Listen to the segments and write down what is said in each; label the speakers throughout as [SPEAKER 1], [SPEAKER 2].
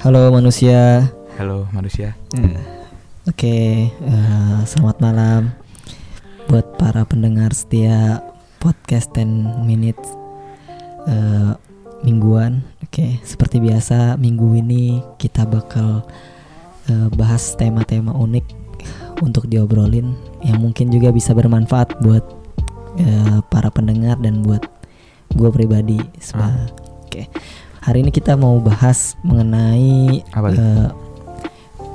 [SPEAKER 1] Halo manusia.
[SPEAKER 2] Halo manusia.
[SPEAKER 1] Oke, eh, selamat malam buat para pendengar setia podcast 10 minutes eh, mingguan. Oke, seperti biasa minggu ini kita bakal eh, bahas tema-tema unik untuk diobrolin yang mungkin juga bisa bermanfaat buat eh, para pendengar dan buat gue pribadi. Seba-
[SPEAKER 2] Ah.
[SPEAKER 1] Oke, hari ini kita mau bahas mengenai
[SPEAKER 2] Apa tuh?
[SPEAKER 1] eh,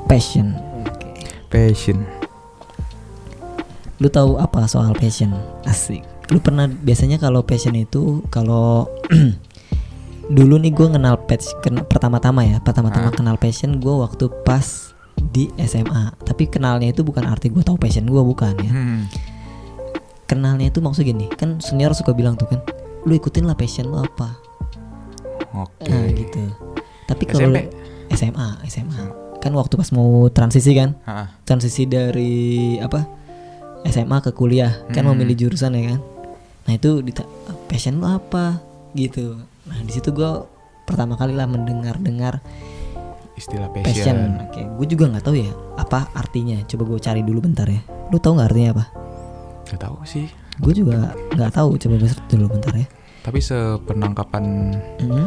[SPEAKER 1] passion.
[SPEAKER 2] Passion.
[SPEAKER 1] lu tahu apa soal passion asik lu pernah biasanya kalau passion itu kalau dulu nih gue kenal patch ken- pertama-tama ya pertama-tama
[SPEAKER 2] Ah.
[SPEAKER 1] kenal passion gue waktu pas di SMA tapi kenalnya itu bukan arti gue tahu passion gue bukan ya
[SPEAKER 2] Hmm.
[SPEAKER 1] kenalnya itu maksud gini kan senior suka bilang tuh kan lu ikutin lah passion lu apa
[SPEAKER 2] Oke.
[SPEAKER 1] nah gitu tapi kalau
[SPEAKER 2] SMP?
[SPEAKER 1] SMA SMA kan waktu pas mau transisi kan
[SPEAKER 2] Ah,
[SPEAKER 1] transisi dari apa SMA ke kuliah kan
[SPEAKER 2] Hmm.
[SPEAKER 1] memilih jurusan ya kan nah itu dita- passion lu apa gitu nah di situ gue pertama kali lah mendengar dengar
[SPEAKER 2] Istilah
[SPEAKER 1] passion,
[SPEAKER 2] passion.
[SPEAKER 1] oke gue juga nggak tahu ya apa artinya coba gue cari dulu bentar ya lu tahu nggak artinya apa
[SPEAKER 2] Gak tahu sih.
[SPEAKER 1] gue juga nggak tahu coba gue search dulu bentar ya
[SPEAKER 2] Tapi sepenangkapan
[SPEAKER 1] Mhm.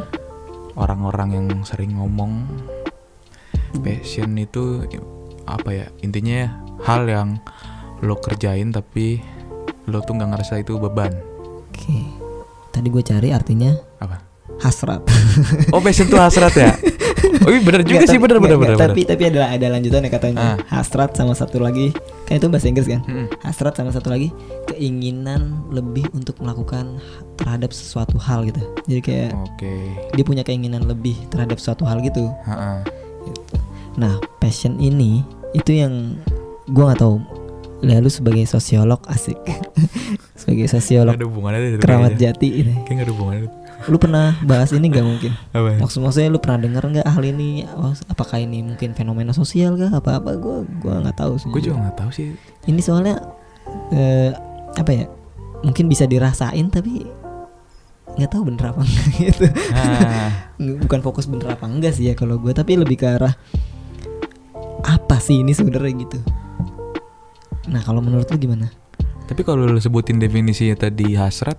[SPEAKER 2] orang-orang yang sering ngomong passion itu i- apa ya intinya ya, hal yang lo kerjain tapi lo tuh nggak ngerasa itu beban
[SPEAKER 1] oke tadi gue cari artinya
[SPEAKER 2] apa
[SPEAKER 1] hasrat
[SPEAKER 2] oh passion tuh hasrat ya oh iya bener juga
[SPEAKER 1] Nggak,
[SPEAKER 2] sih
[SPEAKER 1] tapi-
[SPEAKER 2] bener bener
[SPEAKER 1] nggak,
[SPEAKER 2] bener
[SPEAKER 1] nggak, tapi tapi ada ada lanjutannya katanya
[SPEAKER 2] Ah.
[SPEAKER 1] hasrat sama satu lagi kan itu bahasa Inggris kan
[SPEAKER 2] bener. Hmm, Mm-mm.
[SPEAKER 1] hasrat sama satu lagi keinginan lebih untuk melakukan h- terhadap sesuatu hal gitu jadi kayak
[SPEAKER 2] oke
[SPEAKER 1] dia punya keinginan lebih terhadap suatu hal gitu
[SPEAKER 2] Ha-ha.
[SPEAKER 1] Gitu. nah passion ini itu yang gua nggak tahu lalu sebagai sosiolog asik sebagai
[SPEAKER 2] Nggak
[SPEAKER 1] sosiolog
[SPEAKER 2] ada hubungannya dari
[SPEAKER 1] keramat jati ini
[SPEAKER 2] kayak nggak ada hubungannya
[SPEAKER 1] lu pernah bahas ini nggak mungkin
[SPEAKER 2] apa
[SPEAKER 1] maksud maksudnya lu pernah dengar nggak hal ini Oh, apakah ini mungkin fenomena sosial kah apa apa gua gua nggak tahu
[SPEAKER 2] gue
[SPEAKER 1] sejujurnya.
[SPEAKER 2] juga nggak tahu sih
[SPEAKER 1] ini soalnya eh, apa ya mungkin bisa dirasain tapi nggak tahu bener apa enggak gitu
[SPEAKER 2] Ah,
[SPEAKER 1] Nggak- bukan fokus bener apa enggak sih ya kalau gue tapi lebih ke arah apa sih ini sebenarnya gitu nah kalau menurut lu gimana
[SPEAKER 2] tapi kalau lo sebutin definisinya tadi hasrat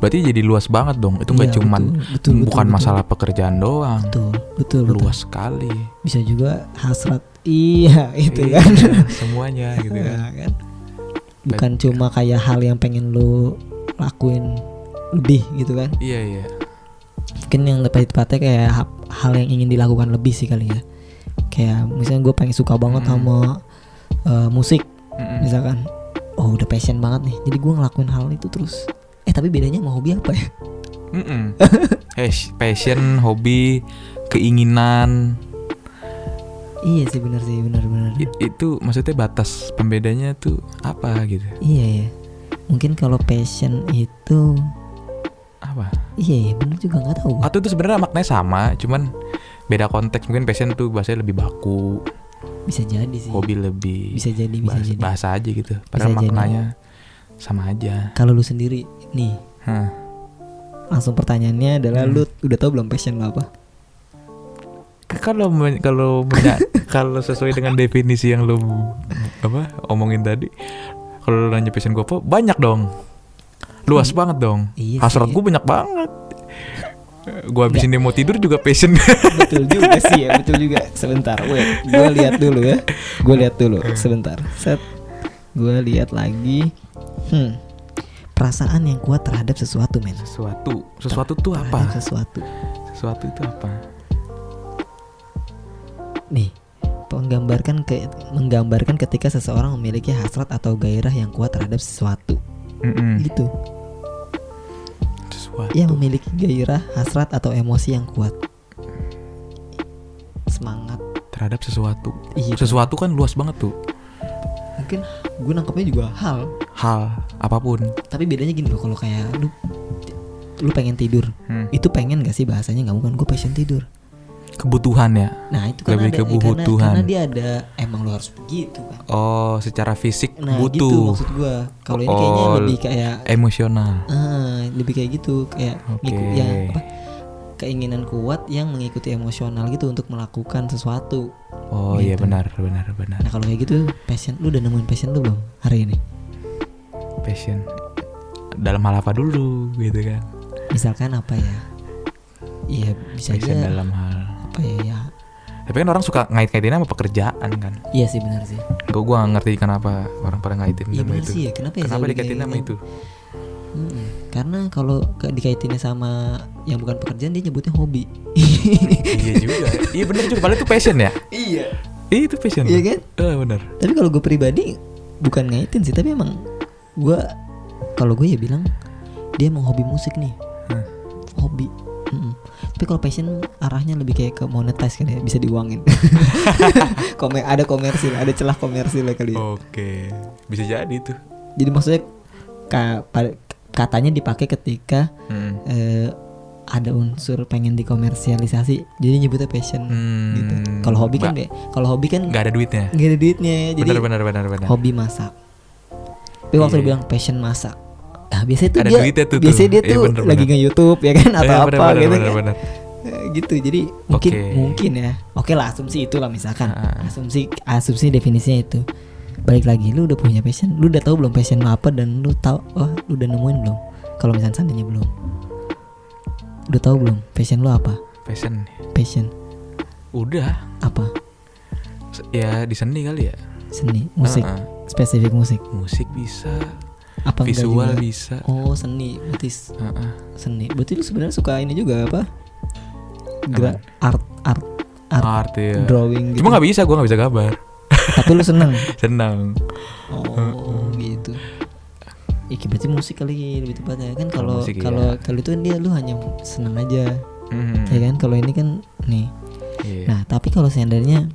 [SPEAKER 2] berarti jadi luas banget dong itu nggak
[SPEAKER 1] Iya,
[SPEAKER 2] cuman
[SPEAKER 1] betul, betul, betul,
[SPEAKER 2] bukan
[SPEAKER 1] betul.
[SPEAKER 2] masalah pekerjaan doang
[SPEAKER 1] betul betul, betul.
[SPEAKER 2] luas sekali
[SPEAKER 1] bisa juga hasrat iya itu
[SPEAKER 2] Iya,
[SPEAKER 1] kan
[SPEAKER 2] semuanya gitu kan
[SPEAKER 1] Nah, kan. bukan cuma kayak hal yang pengen lu lakuin lebih gitu kan
[SPEAKER 2] iya iya
[SPEAKER 1] mungkin yang lebih tepatnya kayak ha- hal yang ingin dilakukan lebih sih kali ya kayak misalnya gue pengen suka banget
[SPEAKER 2] Hmm.
[SPEAKER 1] sama eh, musik
[SPEAKER 2] Mm-mm.
[SPEAKER 1] misalkan oh udah passion banget nih jadi gue ngelakuin hal itu terus eh tapi bedanya mau hobi apa ya
[SPEAKER 2] Mm-mm. Hesh, passion hobi keinginan
[SPEAKER 1] iya sih benar sih benar benar
[SPEAKER 2] i- itu maksudnya batas pembedanya tuh apa gitu
[SPEAKER 1] iya ya mungkin kalau passion itu
[SPEAKER 2] apa
[SPEAKER 1] iya ya benar juga nggak tahu gua.
[SPEAKER 2] atau itu sebenarnya maknanya sama cuman beda konteks mungkin passion tuh bahasanya lebih baku
[SPEAKER 1] bisa jadi sih
[SPEAKER 2] hobi lebih
[SPEAKER 1] Iya. bisa jadi bisa
[SPEAKER 2] bahas-
[SPEAKER 1] jadi
[SPEAKER 2] bahasa aja gitu
[SPEAKER 1] jadi.
[SPEAKER 2] padahal maknanya sama aja
[SPEAKER 1] kalau lu sendiri nih
[SPEAKER 2] Hah.
[SPEAKER 1] langsung pertanyaannya adalah
[SPEAKER 2] Hmm.
[SPEAKER 1] lu udah tahu belum passion lu apa
[SPEAKER 2] K- kalau men- kalau menya- kalau sesuai dengan definisi yang lu apa omongin tadi kalau lu nanya passion gue apa banyak dong luas banget dong
[SPEAKER 1] Iya
[SPEAKER 2] hasrat
[SPEAKER 1] sih.
[SPEAKER 2] gue banyak banget gue habis ini mau tidur juga passion
[SPEAKER 1] betul juga sih ya betul juga sebentar wait gue lihat dulu ya gue lihat dulu sebentar set gue lihat lagi hmm perasaan yang kuat terhadap sesuatu men
[SPEAKER 2] sesuatu sesuatu tuh
[SPEAKER 1] Terhadap
[SPEAKER 2] apa
[SPEAKER 1] sesuatu
[SPEAKER 2] sesuatu itu apa
[SPEAKER 1] nih menggambarkan ke menggambarkan ketika seseorang memiliki hasrat atau gairah yang kuat terhadap sesuatu
[SPEAKER 2] Mm-mm.
[SPEAKER 1] gitu
[SPEAKER 2] sesuatu
[SPEAKER 1] yang memiliki gairah hasrat atau emosi yang kuat semangat
[SPEAKER 2] terhadap sesuatu
[SPEAKER 1] iya
[SPEAKER 2] sesuatu kan luas banget tuh
[SPEAKER 1] mungkin gue nangkepnya juga hal
[SPEAKER 2] hal apapun
[SPEAKER 1] tapi bedanya gini loh kalau kayak lu lu pengen tidur
[SPEAKER 2] Hmm.
[SPEAKER 1] itu pengen gak sih bahasanya nggak bukan gue passion tidur
[SPEAKER 2] kebutuhan ya
[SPEAKER 1] Nah itu kan
[SPEAKER 2] Lebih
[SPEAKER 1] ada,
[SPEAKER 2] ke kebutuhan.
[SPEAKER 1] karena, karena dia ada emang lu harus begitu kan.
[SPEAKER 2] oh secara fisik
[SPEAKER 1] Nah gitu
[SPEAKER 2] butuh
[SPEAKER 1] maksud gua. Kalau ini kayaknya
[SPEAKER 2] Oh,
[SPEAKER 1] lebih kayak
[SPEAKER 2] emosional
[SPEAKER 1] ah, lebih kayak gitu kayak
[SPEAKER 2] Oke.
[SPEAKER 1] ngiku- yang apa, keinginan kuat yang mengikuti emosional gitu untuk melakukan sesuatu.
[SPEAKER 2] oh iya
[SPEAKER 1] Gitu.
[SPEAKER 2] benar benar benar
[SPEAKER 1] Nah kalau kayak gitu passion lu udah nemuin passion lu belum hari ini?
[SPEAKER 2] passion dalam hal apa dulu gitu kan
[SPEAKER 1] Misalkan apa ya? Iya bisa
[SPEAKER 2] passion
[SPEAKER 1] aja
[SPEAKER 2] dalam hal
[SPEAKER 1] apa ya? ya.
[SPEAKER 2] tapi kan orang suka ngait-ngaitin sama pekerjaan kan
[SPEAKER 1] Iya sih benar sih.
[SPEAKER 2] gue gua nggak ngerti kenapa orang pada ngaitin
[SPEAKER 1] Iya
[SPEAKER 2] sama
[SPEAKER 1] benar
[SPEAKER 2] itu
[SPEAKER 1] sih ya. Kenapa ya?
[SPEAKER 2] kenapa
[SPEAKER 1] selalu
[SPEAKER 2] dikaitin sama
[SPEAKER 1] dikaitin?
[SPEAKER 2] itu
[SPEAKER 1] Mm-mm. Iya. Karena kalau ke- dikaitinnya sama yang bukan pekerjaan dia nyebutnya hobi.
[SPEAKER 2] iya juga iya benar juga padahal itu passion ya
[SPEAKER 1] iya.
[SPEAKER 2] Iya itu passion
[SPEAKER 1] Iya kan?
[SPEAKER 2] eh, benar
[SPEAKER 1] Tapi kalau gue pribadi bukan ngaitin sih, tapi emang gue kalau gue ya bilang dia emang hobi musik nih,
[SPEAKER 2] Hah.
[SPEAKER 1] hobi. Mm-mm. Tapi kalau passion arahnya lebih kayak ke monetize kan ya, bisa diuangin. Kome- ada komersil, ada celah komersil lah
[SPEAKER 2] Oh.
[SPEAKER 1] kali. ya.
[SPEAKER 2] Oke, bisa jadi tuh.
[SPEAKER 1] Jadi maksudnya ka- pa- katanya dipakai ketika
[SPEAKER 2] Hmm.
[SPEAKER 1] eh, ada unsur pengen dikomersialisasi jadi nyebutnya passion
[SPEAKER 2] Hmm,
[SPEAKER 1] gitu kalau hobi kan deh kalau hobi kan
[SPEAKER 2] Nggak ada duitnya.
[SPEAKER 1] nggak ada duitnya jadi
[SPEAKER 2] Benar benar benar benar.
[SPEAKER 1] hobi masak tapi waktu
[SPEAKER 2] Iya.
[SPEAKER 1] dia bilang passion masak nah, biasanya tuh
[SPEAKER 2] Ada
[SPEAKER 1] dia
[SPEAKER 2] duitnya tuh,
[SPEAKER 1] biasanya
[SPEAKER 2] tuh.
[SPEAKER 1] dia
[SPEAKER 2] Iya,
[SPEAKER 1] tuh
[SPEAKER 2] bener,
[SPEAKER 1] lagi
[SPEAKER 2] bener.
[SPEAKER 1] nge YouTube ya kan atau
[SPEAKER 2] Eh,
[SPEAKER 1] apa
[SPEAKER 2] benar, benar,
[SPEAKER 1] gitu
[SPEAKER 2] benar,
[SPEAKER 1] kan.
[SPEAKER 2] benar.
[SPEAKER 1] Eh, gitu jadi mungkin
[SPEAKER 2] Oke.
[SPEAKER 1] mungkin ya oke lah asumsi itulah misalkan
[SPEAKER 2] Ah.
[SPEAKER 1] asumsi asumsi definisinya itu balik lagi lu udah punya passion lu udah tahu belum passion lu apa dan lu tahu wah lu udah nemuin belum kalau misalnya seandainya belum udah tahu belum passion lu apa
[SPEAKER 2] Passion.
[SPEAKER 1] passion
[SPEAKER 2] Udah.
[SPEAKER 1] apa
[SPEAKER 2] S- Ya di seni kali ya.
[SPEAKER 1] seni musik
[SPEAKER 2] Heeh.
[SPEAKER 1] spesifik musik
[SPEAKER 2] Musik bisa,
[SPEAKER 1] apa enggak
[SPEAKER 2] visual
[SPEAKER 1] juga?
[SPEAKER 2] bisa.
[SPEAKER 1] oh seni berarti s-
[SPEAKER 2] Heeh.
[SPEAKER 1] seni berarti lu sebenarnya suka ini juga apa gerak art art art
[SPEAKER 2] Art ya.
[SPEAKER 1] drawing gitu
[SPEAKER 2] Cuma nggak bisa, gua nggak bisa gambar.
[SPEAKER 1] tapi lu seneng
[SPEAKER 2] Senang.
[SPEAKER 1] oh gitu Iki berarti musik kali lebih tepatnya kan kalau
[SPEAKER 2] Kalau musik,
[SPEAKER 1] kalau
[SPEAKER 2] iya.
[SPEAKER 1] kalau itu kan dia lu hanya seneng aja
[SPEAKER 2] Hmm.
[SPEAKER 1] ya kan kalau ini kan nih
[SPEAKER 2] Iya.
[SPEAKER 1] nah tapi kalau seandainya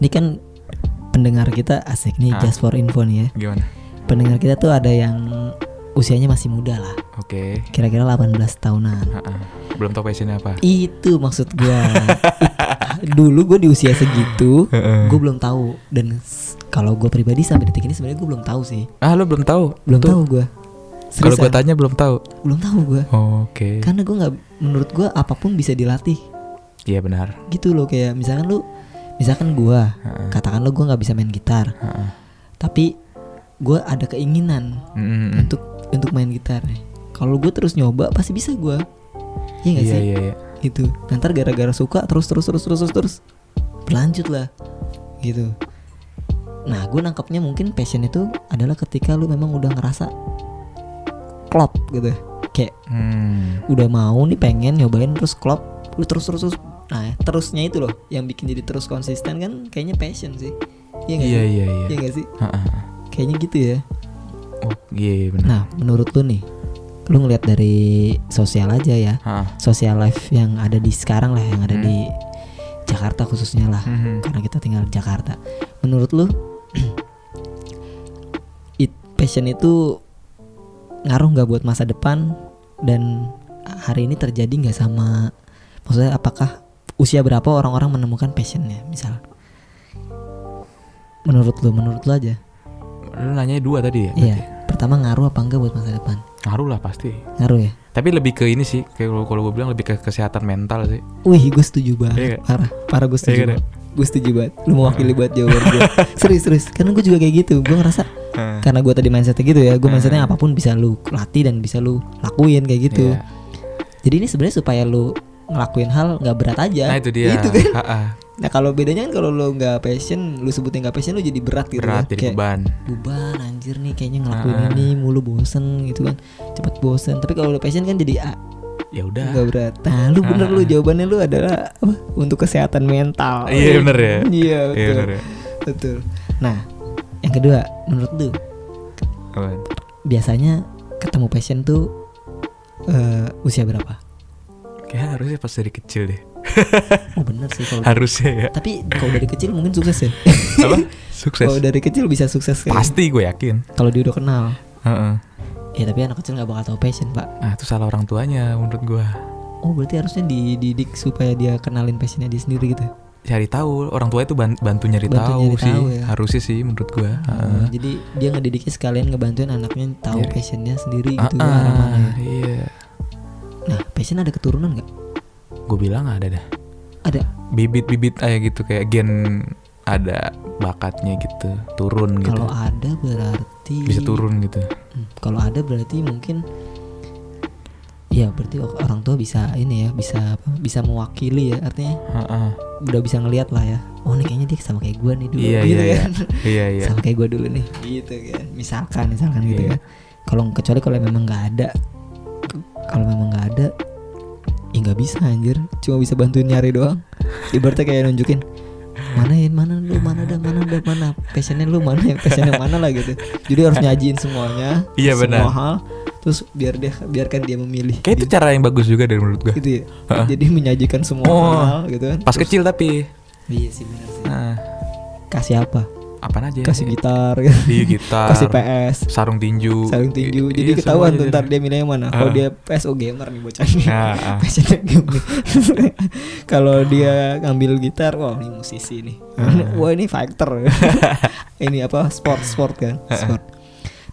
[SPEAKER 1] ini kan pendengar kita asik nih
[SPEAKER 2] Ah.
[SPEAKER 1] just for info nih ya
[SPEAKER 2] Gimana?
[SPEAKER 1] pendengar kita tuh ada yang usianya masih muda lah
[SPEAKER 2] Oke.
[SPEAKER 1] kira-kira 18 tahunan
[SPEAKER 2] Heeh. Belum tau passionnya apa.
[SPEAKER 1] Itu maksud gua. It- Dulu gue di usia segitu, gue belum tahu. Dan s- kalau gue pribadi sampai detik ini sebenarnya gue belum tahu sih.
[SPEAKER 2] Ah, lo belum tahu?
[SPEAKER 1] Belum
[SPEAKER 2] Tuh,
[SPEAKER 1] tahu gue.
[SPEAKER 2] Kalau gua Iya. tanya belum tahu.
[SPEAKER 1] belum tahu gue.
[SPEAKER 2] Oke.
[SPEAKER 1] Karena gue nggak, menurut gue apapun bisa dilatih.
[SPEAKER 2] Iya benar.
[SPEAKER 1] Gitu loh kayak misalkan lu, misalkan gue,
[SPEAKER 2] Heeh.
[SPEAKER 1] katakan lu gue nggak bisa main gitar,
[SPEAKER 2] Heeh. Hmm,
[SPEAKER 1] tapi gue ada keinginan
[SPEAKER 2] Mm-mm.
[SPEAKER 1] Kan? untuk untuk main gitar. Kalau gue terus nyoba pasti bisa gue. Iya gak
[SPEAKER 2] Iya
[SPEAKER 1] sih?
[SPEAKER 2] iya iya.
[SPEAKER 1] gitu nanti gara-gara suka terus terus terus terus terus terus berlanjut lah gitu nah gue nangkepnya mungkin passion itu adalah ketika lu memang udah ngerasa klop gitu kayak
[SPEAKER 2] Hmm.
[SPEAKER 1] udah mau nih pengen nyobain terus klop lu terus terus terus nah terusnya itu loh yang bikin jadi terus konsisten kan kayaknya passion sih iya nggak
[SPEAKER 2] Iya
[SPEAKER 1] sih
[SPEAKER 2] iya iya.
[SPEAKER 1] Iya nggak sih
[SPEAKER 2] Heeh.
[SPEAKER 1] kayaknya gitu ya
[SPEAKER 2] Oh, iya iya benar.
[SPEAKER 1] nah menurut lu nih lu ngeliat dari sosial aja ya
[SPEAKER 2] Heeh.
[SPEAKER 1] social life yang ada di sekarang lah yang ada di Jakarta khususnya lah
[SPEAKER 2] Mhm.
[SPEAKER 1] karena kita tinggal di Jakarta menurut lu it passion itu ngaruh nggak buat masa depan dan hari ini terjadi nggak sama maksudnya apakah usia berapa orang-orang menemukan passionnya misal menurut lu menurut lu aja
[SPEAKER 2] Lu nanya dua tadi ya?
[SPEAKER 1] iya pertama ngaruh apa enggak buat masa depan
[SPEAKER 2] Ngaruh lah pasti.
[SPEAKER 1] ngaruh ya
[SPEAKER 2] Tapi lebih ke ini sih, kayak kalau- kalau gue bilang lebih ke kesehatan mental sih.
[SPEAKER 1] Wih, gue setuju
[SPEAKER 2] Iya
[SPEAKER 1] banget.
[SPEAKER 2] nggak?
[SPEAKER 1] Parah, parah gue
[SPEAKER 2] Iya
[SPEAKER 1] setuju.
[SPEAKER 2] kan,
[SPEAKER 1] banget. Gue setuju banget. Lu mewakili buat jawaban gue. serius, serius. Karena gue juga kayak gitu. Gue ngerasa
[SPEAKER 2] Heeh.
[SPEAKER 1] karena gue tadi mindsetnya gitu ya.
[SPEAKER 2] Nah.
[SPEAKER 1] Gue mindsetnya apapun bisa lu latih dan bisa lu lakuin kayak gitu.
[SPEAKER 2] Iya.
[SPEAKER 1] Jadi ini sebenarnya supaya lu ngelakuin hal nggak berat aja.
[SPEAKER 2] Nah itu dia.
[SPEAKER 1] Itu kan.
[SPEAKER 2] Ha-ha.
[SPEAKER 1] Nah kalau bedanya kan kalau lu nggak passion, lu sebutin nggak passion, lu jadi berat gitu
[SPEAKER 2] Berat
[SPEAKER 1] ya.
[SPEAKER 2] jadi
[SPEAKER 1] Kayak,
[SPEAKER 2] beban.
[SPEAKER 1] beban anjir nih kayaknya ngelakuin
[SPEAKER 2] Ah.
[SPEAKER 1] ini mulu bosen gitu kan cepet bosen tapi kalau lu passion kan jadi ah,
[SPEAKER 2] Ya udah.
[SPEAKER 1] nggak berat nah lu bener lu jawabannya lu adalah apa untuk kesehatan mental
[SPEAKER 2] Iya, bener ya.
[SPEAKER 1] iya betul
[SPEAKER 2] Iya benar ya.
[SPEAKER 1] betul nah yang kedua menurut lu
[SPEAKER 2] Apaan?
[SPEAKER 1] biasanya ketemu passion tuh eh, usia berapa
[SPEAKER 2] Kayaknya harusnya pas dari kecil deh.
[SPEAKER 1] oh bener sih kalau
[SPEAKER 2] Harusnya ya.
[SPEAKER 1] tapi kalau dari kecil mungkin sukses ya
[SPEAKER 2] Apa? Sukses.
[SPEAKER 1] kalau dari kecil bisa sukses kayak
[SPEAKER 2] Pasti gue yakin.
[SPEAKER 1] kalau dia udah kenal
[SPEAKER 2] Heeh.
[SPEAKER 1] ya tapi anak kecil nggak bakal tahu passion pak
[SPEAKER 2] Nah itu salah orang tuanya menurut gue.
[SPEAKER 1] oh berarti harusnya dididik supaya dia kenalin passionnya dia sendiri gitu
[SPEAKER 2] cari tahu orang tua itu ban- bantu nyari
[SPEAKER 1] Bantu
[SPEAKER 2] tahu
[SPEAKER 1] nyari
[SPEAKER 2] sih
[SPEAKER 1] tahu ya.
[SPEAKER 2] harusnya sih menurut gua Heeh.
[SPEAKER 1] Oh, jadi dia ngedidiknya sekalian ngebantuin anaknya tahu
[SPEAKER 2] Jadi-
[SPEAKER 1] passionnya sendiri gitu
[SPEAKER 2] Iya. Ah, ah,
[SPEAKER 1] arah mana ya.
[SPEAKER 2] iya
[SPEAKER 1] nah passion ada keturunan nggak
[SPEAKER 2] gue bilang ada dah
[SPEAKER 1] ada
[SPEAKER 2] bibit-bibit aja gitu kayak gen ada bakatnya gitu turun gitu
[SPEAKER 1] kalau ada berarti
[SPEAKER 2] bisa turun gitu
[SPEAKER 1] Hmm, kalau ada berarti mungkin ya berarti o- orang tua bisa ini ya bisa apa, bisa mewakili ya artinya
[SPEAKER 2] Heeh.
[SPEAKER 1] udah bisa ngelihat lah ya oh ini kayaknya dia sama kayak gue nih dulu
[SPEAKER 2] iya
[SPEAKER 1] gitu
[SPEAKER 2] iya iya
[SPEAKER 1] kan
[SPEAKER 2] iya iya
[SPEAKER 1] sama kayak gue dulu nih gitu kan misalkan misalkan gitu
[SPEAKER 2] Iya.
[SPEAKER 1] kan kalau kecuali kalau memang nggak ada kalau memang nggak ada ya nggak bisa anjir cuma bisa bantuin nyari doang ibaratnya kayak nunjukin mana ya mana lu mana dah mana dah mana passionnya lu mana ya passionnya mana lah gitu jadi harus nyajiin semuanya
[SPEAKER 2] Iya, benar.
[SPEAKER 1] semua hal terus biar dia biarkan dia memilih
[SPEAKER 2] kayak itu cara yang bagus juga dari menurut gue
[SPEAKER 1] gitu ya
[SPEAKER 2] Heeh.
[SPEAKER 1] jadi menyajikan semua
[SPEAKER 2] Oh.
[SPEAKER 1] hal gitu kan
[SPEAKER 2] pas kecil tapi
[SPEAKER 1] iya sih benar sih
[SPEAKER 2] nah,
[SPEAKER 1] kasih apa
[SPEAKER 2] apaan aja ya?
[SPEAKER 1] kasih gitar gitu.
[SPEAKER 2] Iya, gitar
[SPEAKER 1] kasih PS
[SPEAKER 2] sarung tinju
[SPEAKER 1] saling tinju
[SPEAKER 2] I-
[SPEAKER 1] jadi
[SPEAKER 2] iya,
[SPEAKER 1] ketahuan
[SPEAKER 2] semuanya
[SPEAKER 1] tuh ntar
[SPEAKER 2] jadi.
[SPEAKER 1] dia milihnya mana kalau
[SPEAKER 2] Ah.
[SPEAKER 1] dia PSO gamer nih bocah nih
[SPEAKER 2] Ah, ah.
[SPEAKER 1] Passionnya game nih. kalau dia ngambil gitar wah ini musisi nih
[SPEAKER 2] Ah.
[SPEAKER 1] wah ini fighter ini apa sport sport kan
[SPEAKER 2] Ah.
[SPEAKER 1] sport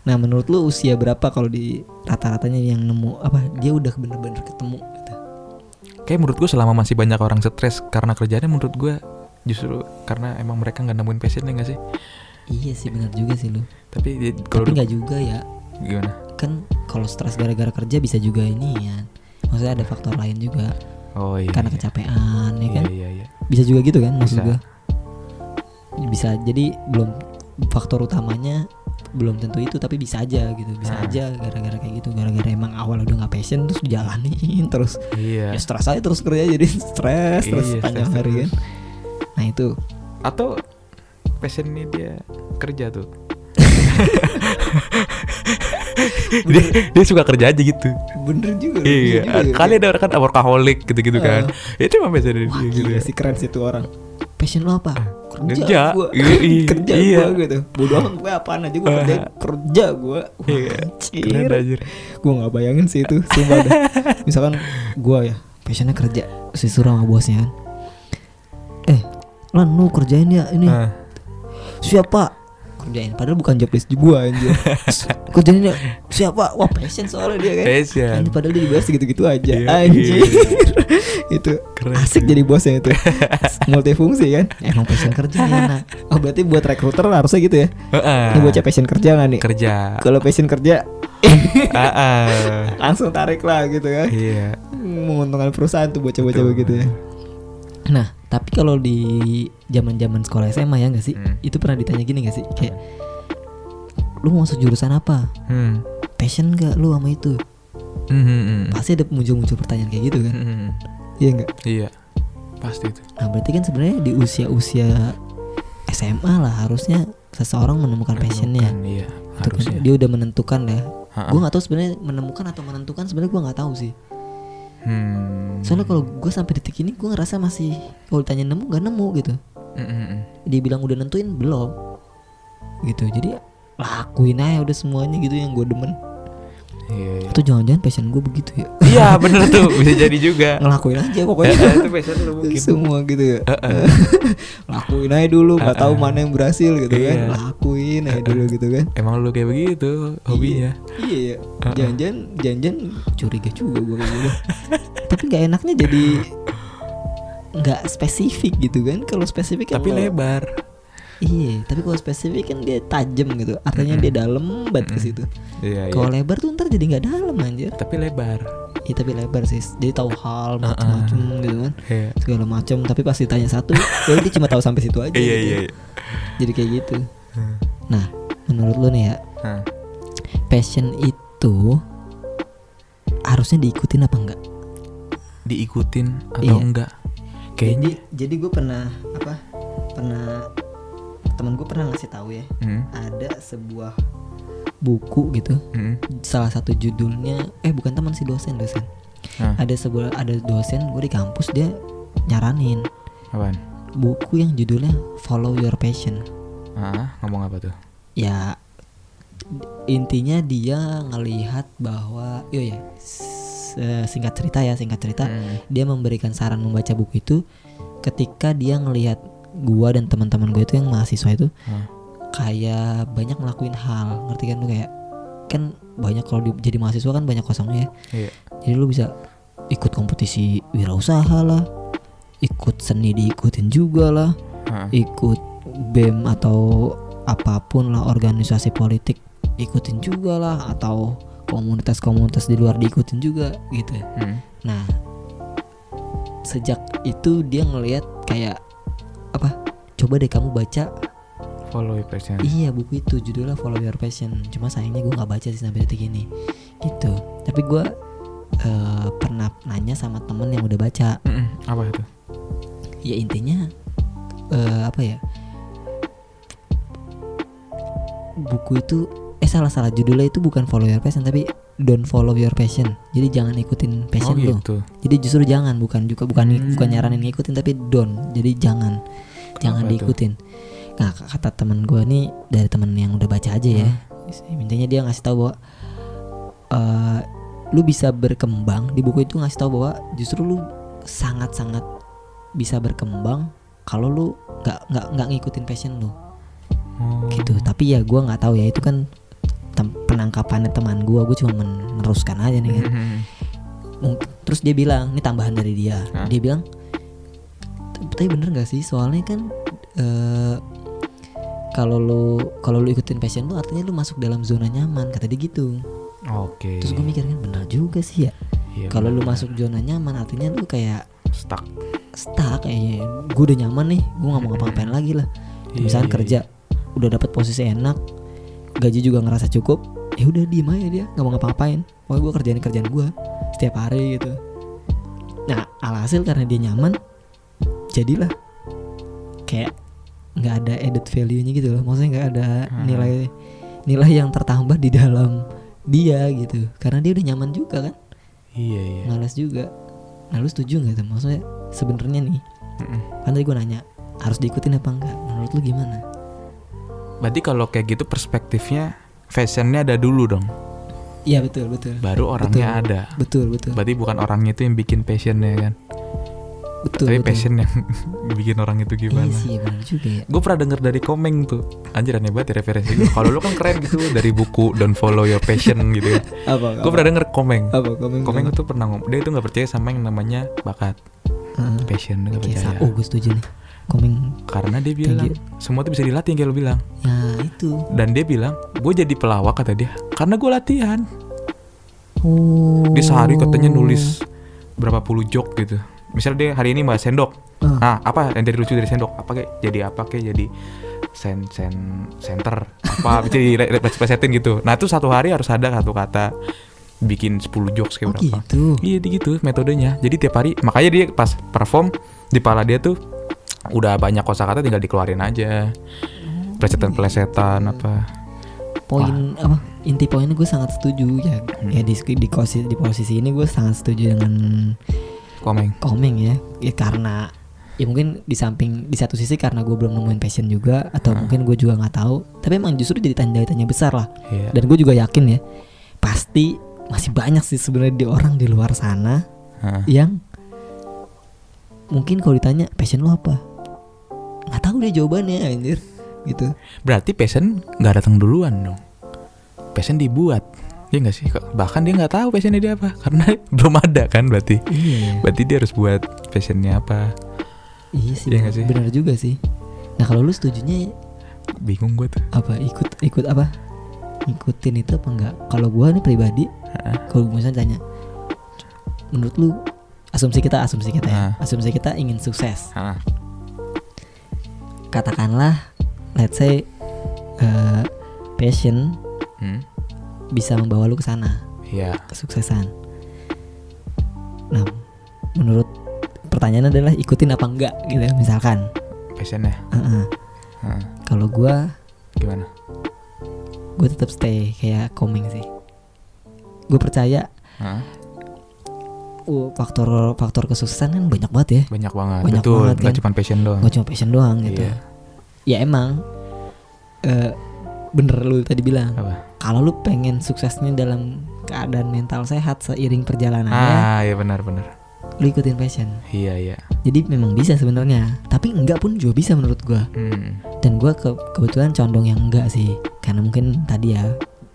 [SPEAKER 1] nah menurut lu usia berapa kalau di rata-ratanya yang nemu apa dia udah bener-bener ketemu gitu.
[SPEAKER 2] kayak menurut gue selama masih banyak orang stres karena kerjaannya menurut gue justru karena emang mereka nggak nemuin passionnya nggak sih
[SPEAKER 1] iya sih benar juga sih lu
[SPEAKER 2] tapi dia- kalau
[SPEAKER 1] tapi
[SPEAKER 2] du-
[SPEAKER 1] nggak juga ya
[SPEAKER 2] gimana
[SPEAKER 1] kan kalau stres gara-gara kerja bisa juga ini ya maksudnya ada faktor lain juga
[SPEAKER 2] oh iya
[SPEAKER 1] karena
[SPEAKER 2] iya.
[SPEAKER 1] kecapean ya
[SPEAKER 2] iya,
[SPEAKER 1] kan
[SPEAKER 2] iya, iya.
[SPEAKER 1] bisa juga gitu kan maksud
[SPEAKER 2] Bisa.
[SPEAKER 1] gua bisa jadi belum faktor utamanya belum tentu itu tapi bisa aja gitu bisa
[SPEAKER 2] Ah.
[SPEAKER 1] aja gara-gara kayak gitu gara-gara emang awal udah nggak passion terus dijalanin terus
[SPEAKER 2] Iya.
[SPEAKER 1] ya stres aja terus kerja jadi stres terus
[SPEAKER 2] Iya,
[SPEAKER 1] panjang
[SPEAKER 2] stres
[SPEAKER 1] hari kan
[SPEAKER 2] terus.
[SPEAKER 1] nah itu
[SPEAKER 2] atau passionnya dia kerja tuh dia, dia suka kerja aja gitu
[SPEAKER 1] bener juga ya?
[SPEAKER 2] iya kali ada orang kan workaholic gitu gitu kan itu emang passionnya
[SPEAKER 1] wah
[SPEAKER 2] dia gitu
[SPEAKER 1] gila sih keren sih tuh orang passion lo apa kerja,
[SPEAKER 2] Kerja.
[SPEAKER 1] gua
[SPEAKER 2] Iya, iya.
[SPEAKER 1] kerja
[SPEAKER 2] Iya. Ah.
[SPEAKER 1] gua gitu bodoh amat gue apaan aja gue kerjain kerja gue
[SPEAKER 2] Iya, keren anjir
[SPEAKER 1] gue nggak bayangin sih itu sumpah dah. misalkan gua ya passionnya kerja si surah sama bosnya kan eh lan lu kerjain ya ini
[SPEAKER 2] Ah.
[SPEAKER 1] siapa kerjain padahal bukan job list gua anjir S- kerjain ya siapa wah passion soalnya dia kan
[SPEAKER 2] Passion.
[SPEAKER 1] Anjir, padahal dia dibahas gitu gitu aja
[SPEAKER 2] Iya,
[SPEAKER 1] anjir
[SPEAKER 2] iya.
[SPEAKER 1] itu
[SPEAKER 2] Keren
[SPEAKER 1] asik
[SPEAKER 2] sih.
[SPEAKER 1] jadi bosnya itu multifungsi kan emang passion kerja enak oh berarti buat recruiter harusnya gitu ya
[SPEAKER 2] Heeh.
[SPEAKER 1] ini bocah passion kerja nggak nih
[SPEAKER 2] kerja
[SPEAKER 1] kalau passion kerja
[SPEAKER 2] Heeh.
[SPEAKER 1] langsung tarik lah gitu kan
[SPEAKER 2] iya
[SPEAKER 1] menguntungkan perusahaan tuh bocah-bocah
[SPEAKER 2] Betul.
[SPEAKER 1] begitu ya. Nah, tapi kalau di zaman-zaman sekolah SMA ya nggak sih?
[SPEAKER 2] Hmm.
[SPEAKER 1] Itu pernah ditanya gini nggak sih? Kayak lu mau masuk jurusan apa?
[SPEAKER 2] hmm.
[SPEAKER 1] Passion nggak lu sama itu?
[SPEAKER 2] Hmm, hmm, hmm.
[SPEAKER 1] Pasti ada muncul-muncul pertanyaan kayak gitu kan?
[SPEAKER 2] Hmm, hmm.
[SPEAKER 1] Iya nggak?
[SPEAKER 2] iya pasti itu
[SPEAKER 1] Nah, berarti kan sebenarnya di usia-usia SMA lah harusnya seseorang menemukan passionnya.
[SPEAKER 2] Bukan, iya
[SPEAKER 1] Itu kan
[SPEAKER 2] harusnya Ah.
[SPEAKER 1] Dia udah menentukan ya.
[SPEAKER 2] Ha-ha.
[SPEAKER 1] Gue nggak tahu sebenarnya menemukan atau menentukan sebenarnya gue nggak tahu sih.
[SPEAKER 2] Hmm.
[SPEAKER 1] Soalnya kalau gue sampai detik ini gue ngerasa masih kalau ditanya nemu nggak nemu gitu.
[SPEAKER 2] Hmm, hmm, hmm.
[SPEAKER 1] dia bilang udah nentuin belum gitu jadi lakuin aja udah semuanya gitu yang gue demen
[SPEAKER 2] Iya, iya.
[SPEAKER 1] atau jangan-jangan passion gue begitu ya
[SPEAKER 2] Iya bener tuh bisa jadi juga.
[SPEAKER 1] ngelakuin aja pokoknya
[SPEAKER 2] Eh, itu passion lu mungkin.
[SPEAKER 1] semua gitu ya
[SPEAKER 2] Heeh.
[SPEAKER 1] lakuin aja dulu nggak tahu mana yang berhasil gitu kan
[SPEAKER 2] Eh, Iya.
[SPEAKER 1] lakuin aja dulu gitu kan
[SPEAKER 2] Emang lu kayak begitu hobinya?
[SPEAKER 1] iya ya
[SPEAKER 2] Eh,
[SPEAKER 1] jangan-jangan jangan-jangan curiga juga gue kayak gitu tapi nggak enaknya jadi nggak spesifik gitu kan kalau spesifik kan
[SPEAKER 2] Tapi
[SPEAKER 1] lo-
[SPEAKER 2] lebar.
[SPEAKER 1] iya tapi kalau spesifik kan dia tajam gitu artinya dia dalam banget ke situ
[SPEAKER 2] Iya
[SPEAKER 1] Kalau lebar tuh ntar jadi nggak dalam anjir.
[SPEAKER 2] Tapi lebar.
[SPEAKER 1] Ya tapi lebar sih. Jadi tahu hal macam-macam gitu kan.
[SPEAKER 2] Iya.
[SPEAKER 1] Segala macam tapi pas ditanya satu, ya dia cuma tahu sampai situ aja.
[SPEAKER 2] Iya
[SPEAKER 1] gitu.
[SPEAKER 2] iya. iya.
[SPEAKER 1] Jadi kayak gitu.
[SPEAKER 2] Hmm.
[SPEAKER 1] Nah, menurut lu nih ya,
[SPEAKER 2] Hah.
[SPEAKER 1] passion itu harusnya diikutin apa enggak?
[SPEAKER 2] Diikutin atau
[SPEAKER 1] Iya.
[SPEAKER 2] enggak? Kayaknya.
[SPEAKER 1] Jadi jadi gue pernah apa? Pernah temen gue pernah ngasih tahu ya,
[SPEAKER 2] Hmm.
[SPEAKER 1] ada sebuah buku gitu
[SPEAKER 2] Hmm.
[SPEAKER 1] salah satu judulnya eh bukan teman si dosen dosen
[SPEAKER 2] Hah.
[SPEAKER 1] ada sebuah ada dosen gue di kampus dia nyaranin
[SPEAKER 2] Apaan?
[SPEAKER 1] buku yang judulnya Follow Your Passion
[SPEAKER 2] Ah, ngomong apa tuh?
[SPEAKER 1] ya intinya dia ngelihat bahwa iya ya s- eh, singkat cerita ya singkat cerita
[SPEAKER 2] Hmm.
[SPEAKER 1] dia memberikan saran membaca buku itu ketika dia ngelihat gua dan teman-teman gue itu yang mahasiswa itu
[SPEAKER 2] Hmm.
[SPEAKER 1] kayak banyak ngelakuin hal ngerti kan lu kayak kan banyak kalau di- jadi mahasiswa kan banyak kosongnya ya
[SPEAKER 2] Iya.
[SPEAKER 1] jadi lu bisa ikut kompetisi wirausaha lah ikut seni diikutin juga lah
[SPEAKER 2] Heeh.
[SPEAKER 1] ikut BEM atau apapun lah organisasi politik ikutin juga lah atau komunitas-komunitas di luar diikutin juga gitu
[SPEAKER 2] Hmm.
[SPEAKER 1] Nah, sejak itu dia ngelihat kayak apa? Coba deh kamu baca.
[SPEAKER 2] Follow ya, your passion.
[SPEAKER 1] Iya, buku itu judulnya Follow Your Passion. Cuma sayangnya gue nggak baca sih sampai detik ini. Gitu. Tapi gue eh, pernah nanya sama temen yang udah baca.
[SPEAKER 2] Mm-mm. Hmm, Apa itu?
[SPEAKER 1] Ya intinya eh, apa ya? Buku itu eh salah-salah judulnya itu bukan Follow Your Passion tapi Don't Follow Your Passion. Jadi jangan ikutin passion
[SPEAKER 2] oh
[SPEAKER 1] lu.
[SPEAKER 2] gitu.
[SPEAKER 1] Jadi justru jangan bukan juga bukan
[SPEAKER 2] Hmm.
[SPEAKER 1] bukan nyaranin ngikutin tapi don. Jadi jangan jangan
[SPEAKER 2] tuh?
[SPEAKER 1] diikutin. Nah, k- kata teman gua nih dari teman yang udah baca aja ya. Intinya dia ngasih tahu bahwa eh, lu bisa berkembang di buku itu ngasih tahu bahwa justru lu sangat-sangat bisa berkembang kalau lu nggak nggak nggak ngikutin passion lu
[SPEAKER 2] Oh.
[SPEAKER 1] gitu tapi ya gua nggak tahu ya itu kan tem- penangkapannya teman gua gue cuma meneruskan aja nih kan
[SPEAKER 2] Mm-mm.
[SPEAKER 1] Mungkin- terus dia bilang ini tambahan dari dia
[SPEAKER 2] Hah?
[SPEAKER 1] dia bilang tapi bener gak sih soalnya kan eh, kalau lu kalau lu ikutin passion lu artinya lu masuk dalam zona nyaman kata dia gitu
[SPEAKER 2] Oke.
[SPEAKER 1] terus gue mikir kan bener juga sih ya
[SPEAKER 2] Iya,
[SPEAKER 1] kalau lu
[SPEAKER 2] benar.
[SPEAKER 1] masuk zona nyaman artinya lu kayak
[SPEAKER 2] stuck.
[SPEAKER 1] stuck kayaknya gue udah nyaman nih gue nggak mau ngapa-ngapain lagi lah
[SPEAKER 2] Iya,
[SPEAKER 1] misalkan
[SPEAKER 2] iya,
[SPEAKER 1] kerja udah dapat posisi enak gaji juga ngerasa cukup ya udah diem aja dia nggak mau ngapa-ngapain pokoknya gue kerjain kerjaan gue setiap hari gitu nah alhasil karena dia nyaman jadilah kayak nggak ada added value-nya gitu loh maksudnya nggak ada
[SPEAKER 2] Hmm.
[SPEAKER 1] nilai nilai yang tertambah di dalam dia gitu karena dia udah nyaman juga kan
[SPEAKER 2] Iya iya.
[SPEAKER 1] malas juga nah lu setuju nggak tuh maksudnya sebenarnya nih
[SPEAKER 2] Mm-mm.
[SPEAKER 1] kan tadi gue nanya harus diikutin apa enggak menurut lu gimana
[SPEAKER 2] Berarti kalau kayak gitu perspektifnya fashionnya ada dulu dong.
[SPEAKER 1] Iya betul betul.
[SPEAKER 2] Baru orangnya
[SPEAKER 1] Betul.
[SPEAKER 2] ada.
[SPEAKER 1] Betul betul.
[SPEAKER 2] Berarti bukan orangnya itu yang bikin passionnya kan.
[SPEAKER 1] betul
[SPEAKER 2] Tapi
[SPEAKER 1] betul.
[SPEAKER 2] passion yang bikin orang itu gimana.
[SPEAKER 1] Iya sih ya, benar juga ya.
[SPEAKER 2] Gue pernah denger dari Komeng tuh Anjir aneh banget ya referensi gua. Kalau lu kan keren gitu Dari buku Don't Follow Your Passion gitu ya
[SPEAKER 1] Apa?
[SPEAKER 2] Gue pernah denger Komeng
[SPEAKER 1] Apa komen?
[SPEAKER 2] Komeng tuh pernah ngomong Dia itu gak percaya sama yang namanya bakat
[SPEAKER 1] Eh,
[SPEAKER 2] Passion dia gak
[SPEAKER 1] Oke,
[SPEAKER 2] percaya
[SPEAKER 1] sa- oh gue setuju nih. Komen
[SPEAKER 2] Karena dia bilang
[SPEAKER 1] you.
[SPEAKER 2] Semua tuh bisa dilatih kayak lu bilang
[SPEAKER 1] nah itu.
[SPEAKER 2] Dan dia bilang Gue jadi pelawak kata dia Karena gue latihan
[SPEAKER 1] Oh.
[SPEAKER 2] Dia sehari katanya nulis Berapa puluh joke gitu Misalnya dia hari ini bahas sendok
[SPEAKER 1] Ah.
[SPEAKER 2] Nah apa yang jadi lucu dari sendok Apa kayak jadi apa kayak jadi sen sen center apa jadi re- re- representin gitu nah itu satu hari harus ada satu kata bikin 10 jokes
[SPEAKER 1] Oh
[SPEAKER 2] kayak berapa
[SPEAKER 1] gitu.
[SPEAKER 2] Iya di- gitu metodenya. Jadi tiap hari makanya dia pas perform di pala dia tuh udah banyak kosakata tinggal dikeluarin aja. Pelesetan-pelesetan apa.
[SPEAKER 1] Poin apa? Inti poinnya gue sangat setuju ya.
[SPEAKER 2] Hmm.
[SPEAKER 1] Ya di di posisi di posisi ini gue sangat setuju dengan
[SPEAKER 2] Komeng.
[SPEAKER 1] Komeng ya. Ya, karena ya mungkin di samping di satu sisi karena gue belum nemuin passion juga atau mungkin gue juga nggak tahu tapi emang justru jadi tanda tanya besar lah
[SPEAKER 2] Iya.
[SPEAKER 1] dan gue juga yakin ya pasti masih banyak sih sebenarnya di orang di luar sana
[SPEAKER 2] Hah.
[SPEAKER 1] yang mungkin kalau ditanya passion lo apa nggak tahu dia jawabannya anjir gitu
[SPEAKER 2] Berarti passion nggak datang duluan dong. Passion dibuat. Iya nggak sih? Kok- Bahkan dia nggak tahu passionnya dia apa karena belum ada kan berarti.
[SPEAKER 1] iya
[SPEAKER 2] Berarti dia harus buat passionnya apa?
[SPEAKER 1] iya sih bener
[SPEAKER 2] Iya nggak sih?
[SPEAKER 1] bener juga sih nah kalau lu setujunya
[SPEAKER 2] Bingung gue tuh.
[SPEAKER 1] apa ikut ikut apa ngikutin itu apa enggak kalau gua nih pribadi
[SPEAKER 2] Heeh.
[SPEAKER 1] kalau misalnya tanya menurut lu asumsi kita asumsi kita ya
[SPEAKER 2] Ah.
[SPEAKER 1] asumsi kita ingin sukses
[SPEAKER 2] Heeh.
[SPEAKER 1] katakanlah let's say eh, passion
[SPEAKER 2] Hmm.
[SPEAKER 1] bisa membawa lu ke sana
[SPEAKER 2] Iya.
[SPEAKER 1] kesuksesan nah menurut pertanyaannya adalah ikutin apa enggak gitu ya, misalkan
[SPEAKER 2] Passionnya.
[SPEAKER 1] Heeh.
[SPEAKER 2] Heeh.
[SPEAKER 1] kalau gua
[SPEAKER 2] Gimana?
[SPEAKER 1] gue tetap stay kayak komeng sih gue percaya
[SPEAKER 2] Heeh.
[SPEAKER 1] uh, faktor faktor kesuksesan kan banyak banget ya
[SPEAKER 2] Banyak banget.
[SPEAKER 1] Banyak
[SPEAKER 2] Betul.
[SPEAKER 1] banget,
[SPEAKER 2] nggak
[SPEAKER 1] kan?
[SPEAKER 2] cuma passion doang.
[SPEAKER 1] gak cuma passion doang gitu
[SPEAKER 2] Iya.
[SPEAKER 1] ya emang eh, bener lu tadi bilang
[SPEAKER 2] Apa?
[SPEAKER 1] kalau lu pengen suksesnya dalam keadaan mental sehat seiring perjalanannya,
[SPEAKER 2] ah iya benar-benar
[SPEAKER 1] lu ikutin passion.
[SPEAKER 2] iya iya
[SPEAKER 1] Jadi memang bisa sebenarnya, tapi enggak pun juga bisa menurut gua.
[SPEAKER 2] Hmm.
[SPEAKER 1] Dan gua ke- kebetulan condong yang enggak sih, karena mungkin tadi ya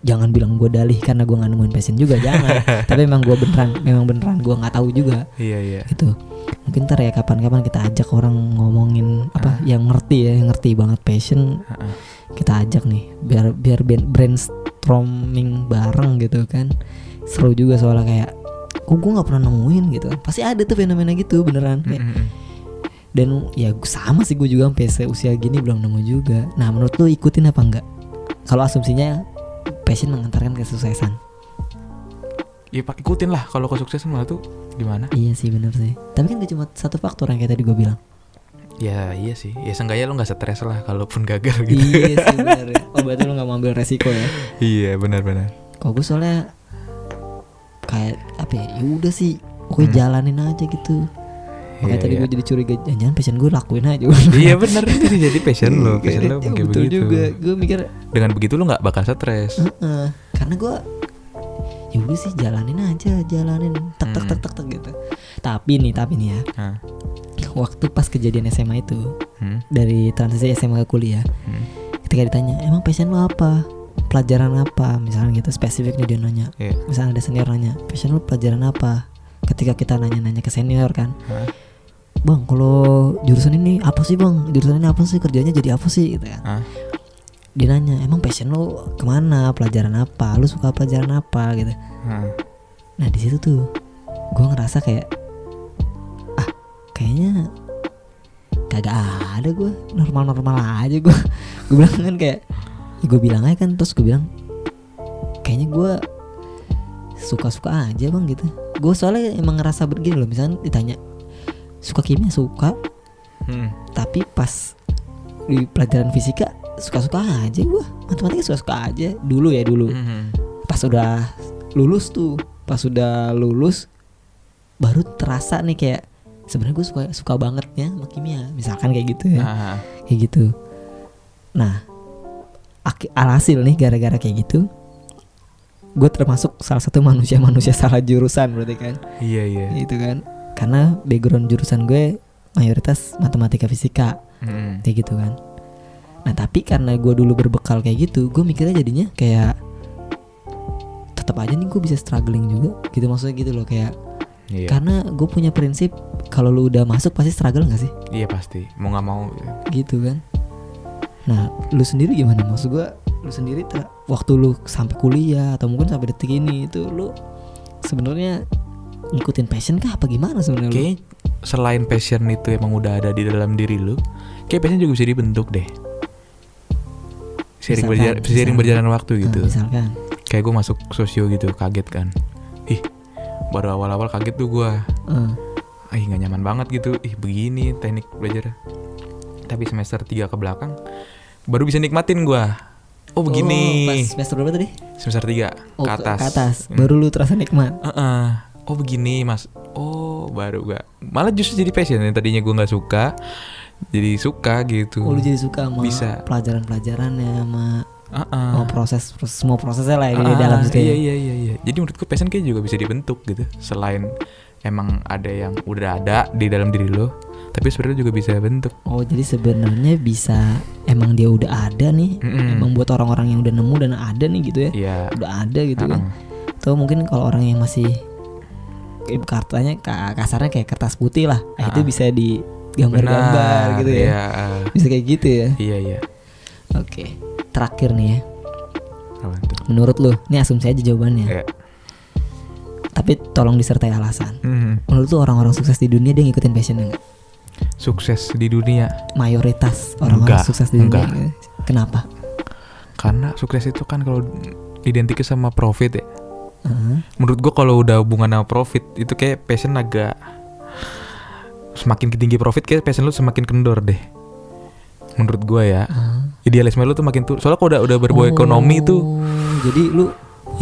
[SPEAKER 1] jangan bilang gua dalih karena gua nggak nemuin passion juga jangan. tapi memang gua beneran, memang beneran gua nggak tahu juga
[SPEAKER 2] iya iya
[SPEAKER 1] gitu. Mungkin ntar ya kapan-kapan kita ajak orang ngomongin
[SPEAKER 2] Ah.
[SPEAKER 1] apa yang ngerti ya, yang ngerti banget passion
[SPEAKER 2] Heeh.
[SPEAKER 1] kita ajak nih biar biar ben- brainstorming bareng gitu kan seru juga soalnya kayak kok gue nggak pernah nemuin gitu kan pasti ada tuh fenomena gitu beneran
[SPEAKER 2] Hmm,
[SPEAKER 1] Kayak,
[SPEAKER 2] hmm, hmm.
[SPEAKER 1] dan ya gua- sama sih gue juga sampai usia gini belum nemu juga nah menurut lu ikutin apa enggak kalau asumsinya passion mengantarkan kesuksesan
[SPEAKER 2] Ya pak ikutin lah kalau kesuksesan malah tuh gimana?
[SPEAKER 1] iya sih bener sih tapi kan gak cuma satu faktor yang kayak tadi gue bilang
[SPEAKER 2] Ya iya sih. Ya seenggaknya lo nggak stres lah kalaupun gagal gitu.
[SPEAKER 1] iya sih bener ya. oh berarti lu gak mau ambil resiko ya
[SPEAKER 2] iya benar-benar.
[SPEAKER 1] Kalau gue soalnya kayak apa ya? Ya udah sih, oke
[SPEAKER 2] Hmm.
[SPEAKER 1] jalanin aja gitu. Makanya
[SPEAKER 2] Iya,
[SPEAKER 1] tadi
[SPEAKER 2] iya.
[SPEAKER 1] gue jadi curiga, "Eh, jangan passion gue lakuin aja.
[SPEAKER 2] iya benar itu jadi passion lo, passion lo
[SPEAKER 1] Iya,
[SPEAKER 2] kayak
[SPEAKER 1] betul
[SPEAKER 2] begitu.
[SPEAKER 1] juga. Gue mikir,
[SPEAKER 2] Dengan begitu lo nggak bakal stres.
[SPEAKER 1] "Heeh." karena gue ya udah sih jalanin aja, jalanin tek tek
[SPEAKER 2] Hmm.
[SPEAKER 1] tek tek tek gitu. Tapi nih, tapi nih ya,
[SPEAKER 2] Hah.
[SPEAKER 1] waktu pas kejadian SMA itu
[SPEAKER 2] Hmm,
[SPEAKER 1] dari transisi SMA ke kuliah,
[SPEAKER 2] hmm.
[SPEAKER 1] ketika ditanya, emang passion lo apa? Pelajaran apa? Misalnya gitu, spesifik nih dia nanya.
[SPEAKER 2] Iya.
[SPEAKER 1] misalnya ada senior nanya passion lu pelajaran apa ketika kita nanya-nanya ke senior kan
[SPEAKER 2] Hah.
[SPEAKER 1] bang kalau jurusan ini apa sih bang jurusan ini apa sih kerjanya jadi apa sih gitu kan
[SPEAKER 2] Hah.
[SPEAKER 1] dia nanya emang passion lu kemana pelajaran apa lu suka pelajaran apa gitu
[SPEAKER 2] Hah.
[SPEAKER 1] nah di situ tuh gue ngerasa kayak ah kayaknya kagak ada gue normal-normal aja gue gue bilang kan kayak gue bilang aja kan terus gue bilang kayaknya gue suka-suka aja bang gitu gue soalnya emang ngerasa begini loh misalnya ditanya suka kimia suka
[SPEAKER 2] Hmm.
[SPEAKER 1] tapi pas di pelajaran fisika suka-suka aja gue matematika suka-suka aja dulu ya dulu
[SPEAKER 2] Hmm.
[SPEAKER 1] pas udah lulus tuh pas udah lulus baru terasa nih kayak sebenarnya gue suka suka bangetnya sama kimia misalkan kayak gitu ya
[SPEAKER 2] Hah.
[SPEAKER 1] kayak gitu nah aki- alhasil nih gara-gara kayak gitu gue termasuk salah satu manusia-manusia salah jurusan berarti kan
[SPEAKER 2] Iya iya.
[SPEAKER 1] itu kan karena background jurusan gue mayoritas matematika fisika
[SPEAKER 2] Hmm.
[SPEAKER 1] kayak gitu kan nah tapi karena gue dulu berbekal kayak gitu gue mikirnya jadinya kayak tetap aja nih gue bisa struggling juga gitu maksudnya gitu loh kayak
[SPEAKER 2] Iya.
[SPEAKER 1] karena gue punya prinsip kalau lu udah masuk pasti struggle gak sih
[SPEAKER 2] Iya pasti. Mau nggak mau.
[SPEAKER 1] gitu kan nah lu sendiri gimana maksud gue lu sendiri ter- waktu lu sampai kuliah atau mungkin sampai detik ini itu lu sebenarnya ngikutin passion kah apa gimana sebenarnya lu?
[SPEAKER 2] Kayaknya selain passion itu emang udah ada di dalam diri lu, kayak passion juga bisa dibentuk deh. Sering,
[SPEAKER 1] Misalkan,
[SPEAKER 2] berjalan, sering
[SPEAKER 1] misalkan.
[SPEAKER 2] berjalan waktu gitu.
[SPEAKER 1] Nah, misalkan
[SPEAKER 2] kayak gue masuk sosio gitu kaget kan ih baru awal-awal kaget tuh gue
[SPEAKER 1] eh,
[SPEAKER 2] ih nggak nyaman banget gitu ih begini teknik belajar tapi semester 3 ke belakang baru bisa nikmatin gue oh
[SPEAKER 1] oh, pas
[SPEAKER 2] begini
[SPEAKER 1] semester berapa tadi
[SPEAKER 2] semester 3
[SPEAKER 1] Oh,
[SPEAKER 2] ke atas
[SPEAKER 1] ke atas.
[SPEAKER 2] Hmm.
[SPEAKER 1] Baru lu terasa nikmat.
[SPEAKER 2] Heeh. oh begini mas oh baru gak malah justru jadi passion yang tadinya gue nggak suka jadi suka gitu
[SPEAKER 1] Oh, lu jadi suka sama
[SPEAKER 2] Bisa.
[SPEAKER 1] pelajaran-pelajarannya sama
[SPEAKER 2] Heeh.
[SPEAKER 1] oh, proses, proses- semua prosesnya lah yang di
[SPEAKER 2] Ah,
[SPEAKER 1] dalam situ. ya.
[SPEAKER 2] iya iya iya iya jadi menurutku passion kayak juga bisa dibentuk gitu selain emang ada yang udah ada di dalam diri lo tapi sebenarnya juga bisa bentuk
[SPEAKER 1] Oh, jadi sebenarnya bisa emang dia udah ada nih.
[SPEAKER 2] Mm-mm.
[SPEAKER 1] Emang buat orang-orang yang udah nemu dan ada nih gitu ya.
[SPEAKER 2] iya
[SPEAKER 1] Udah ada gitu kan.
[SPEAKER 2] Heeh.
[SPEAKER 1] Atau mungkin kalau orang yang masih eh, kartanya ka- kasarnya kayak kertas putih lah. Nah, itu
[SPEAKER 2] Ah.
[SPEAKER 1] bisa digambar-gambar
[SPEAKER 2] Benar,
[SPEAKER 1] gitu ya.
[SPEAKER 2] iya ah.
[SPEAKER 1] Bisa kayak gitu ya.
[SPEAKER 2] iya iya
[SPEAKER 1] Oke. Terakhir nih ya.
[SPEAKER 2] Apa tuh?
[SPEAKER 1] Menurut lu, ini asumsi aja jawabannya.
[SPEAKER 2] Iya.
[SPEAKER 1] Tapi tolong disertai alasan.
[SPEAKER 2] Mhm.
[SPEAKER 1] Menurut tuh orang-orang sukses di dunia dia ngikutin passionnya nggak?
[SPEAKER 2] sukses di dunia
[SPEAKER 1] Mayoritas orang-orang
[SPEAKER 2] Enggak,
[SPEAKER 1] sukses di dunia.
[SPEAKER 2] enggak.
[SPEAKER 1] gitu. Kenapa?
[SPEAKER 2] karena sukses itu kan kalau identiknya sama profit ya
[SPEAKER 1] Heeh.
[SPEAKER 2] menurut gua kalau udah hubungan sama profit itu kayak passion agak semakin tinggi profit kayak passion lu semakin kendor deh menurut gua ya
[SPEAKER 1] Heeh.
[SPEAKER 2] idealisme lu tuh makin turun soalnya kalau udah udah berbau
[SPEAKER 1] Ah. Oh,
[SPEAKER 2] ekonomi tuh
[SPEAKER 1] Jadi lu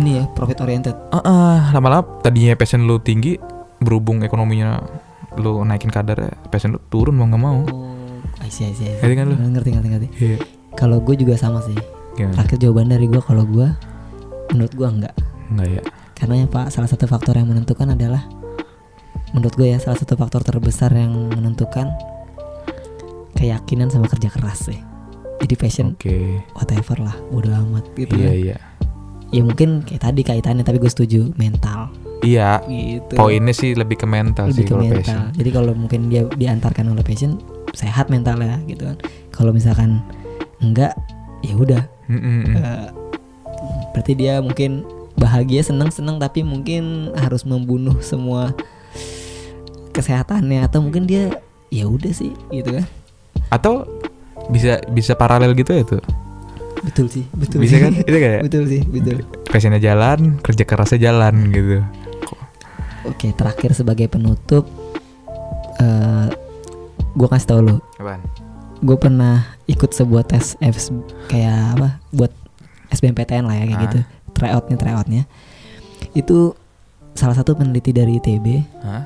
[SPEAKER 1] ini ya profit oriented.
[SPEAKER 2] eh, eh, lama-lama tadinya passion lu tinggi berhubung ekonominya lu naikin kadar passion lu turun mau nggak mau
[SPEAKER 1] Oh, I see, I see, I see.
[SPEAKER 2] Ngerti kan lu? Hmm.
[SPEAKER 1] Ngerti, ngerti, ngerti.
[SPEAKER 2] iya
[SPEAKER 1] Kalau gue juga sama sih.
[SPEAKER 2] gimana
[SPEAKER 1] Terakhir jawaban dari gue kalau gue menurut gue enggak.
[SPEAKER 2] nggak ya
[SPEAKER 1] Karena ya Pak, salah satu faktor yang menentukan adalah menurut gue ya salah satu faktor terbesar yang menentukan keyakinan sama kerja keras sih. Jadi passion
[SPEAKER 2] Oke.
[SPEAKER 1] whatever lah, bodo amat gitu.
[SPEAKER 2] Iya
[SPEAKER 1] kan.
[SPEAKER 2] iya.
[SPEAKER 1] Ya mungkin kayak tadi kaitannya tapi gue setuju mental
[SPEAKER 2] Iya.
[SPEAKER 1] gitu.
[SPEAKER 2] Poinnya sih lebih ke mental
[SPEAKER 1] lebih
[SPEAKER 2] sih
[SPEAKER 1] ke
[SPEAKER 2] kalau
[SPEAKER 1] mental.
[SPEAKER 2] passion.
[SPEAKER 1] Jadi kalau mungkin dia diantarkan oleh passion sehat mentalnya gitu kan. Kalau misalkan enggak ya udah
[SPEAKER 2] Mm-mm.
[SPEAKER 1] eh, berarti dia mungkin bahagia seneng-seneng tapi mungkin harus membunuh semua kesehatannya atau mungkin dia ya udah sih gitu kan.
[SPEAKER 2] Atau bisa bisa paralel gitu ya tuh.
[SPEAKER 1] Betul sih, betul.
[SPEAKER 2] Bisa
[SPEAKER 1] sih.
[SPEAKER 2] kan? Itu kan ya?
[SPEAKER 1] betul sih, betul.
[SPEAKER 2] Passionnya jalan, kerja kerasnya jalan gitu.
[SPEAKER 1] Oke, terakhir sebagai penutup eh gue kasih tau lo
[SPEAKER 2] Apaan?
[SPEAKER 1] gue pernah ikut sebuah tes Fs kayak apa buat SBMPTN lah ya kayak
[SPEAKER 2] Ah.
[SPEAKER 1] gitu tryoutnya tryoutnya itu salah satu peneliti dari ITB
[SPEAKER 2] Hah?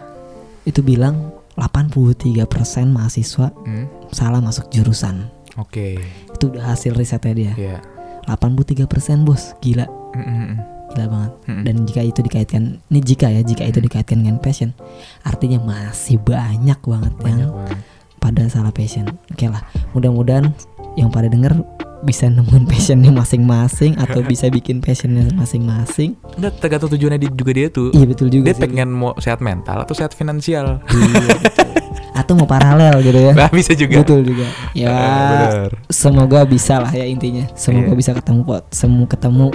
[SPEAKER 1] itu bilang 83% mahasiswa
[SPEAKER 2] Hmm?
[SPEAKER 1] salah masuk jurusan
[SPEAKER 2] Oke.
[SPEAKER 1] itu udah hasil risetnya dia
[SPEAKER 2] Iya.
[SPEAKER 1] 83% bos gila
[SPEAKER 2] Mm-mm.
[SPEAKER 1] gila banget
[SPEAKER 2] Mm-mm.
[SPEAKER 1] dan jika itu dikaitkan ini jika ya jika itu
[SPEAKER 2] Hmm.
[SPEAKER 1] dikaitkan dengan passion artinya masih banyak banget yang
[SPEAKER 2] banyak banget.
[SPEAKER 1] pada salah passion. Oke lah, mudah-mudahan yang pada denger bisa nemuin passionnya masing-masing atau bisa bikin passionnya masing-masing.
[SPEAKER 2] Nggak, tergantung tujuannya di- juga dia tuh.
[SPEAKER 1] Iya betul juga sih.
[SPEAKER 2] Dia pengen mau sehat mental atau sehat finansial.
[SPEAKER 1] Iya, betul. atau mau paralel gitu ya.
[SPEAKER 2] Nah, bisa juga.
[SPEAKER 1] Betul juga. Ya,
[SPEAKER 2] Eh, bener.
[SPEAKER 1] semoga bisa lah ya intinya. Semoga
[SPEAKER 2] Iya.
[SPEAKER 1] bisa ketemu kok, semu ketemu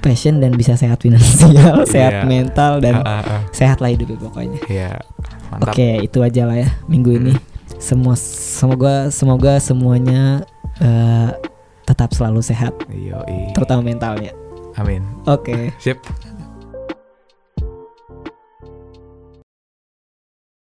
[SPEAKER 1] passion dan bisa sehat finansial, sehat
[SPEAKER 2] Iya.
[SPEAKER 1] mental dan
[SPEAKER 2] Ah, ah, ah.
[SPEAKER 1] sehat lah hidupnya pokoknya.
[SPEAKER 2] Iya. Mantap.
[SPEAKER 1] Oke, itu aja lah ya minggu ini. Semua semoga semoga semuanya eh, tetap selalu sehat,
[SPEAKER 2] Yoi.
[SPEAKER 1] terutama mentalnya.
[SPEAKER 2] Amin.
[SPEAKER 1] Oke.
[SPEAKER 2] Sip.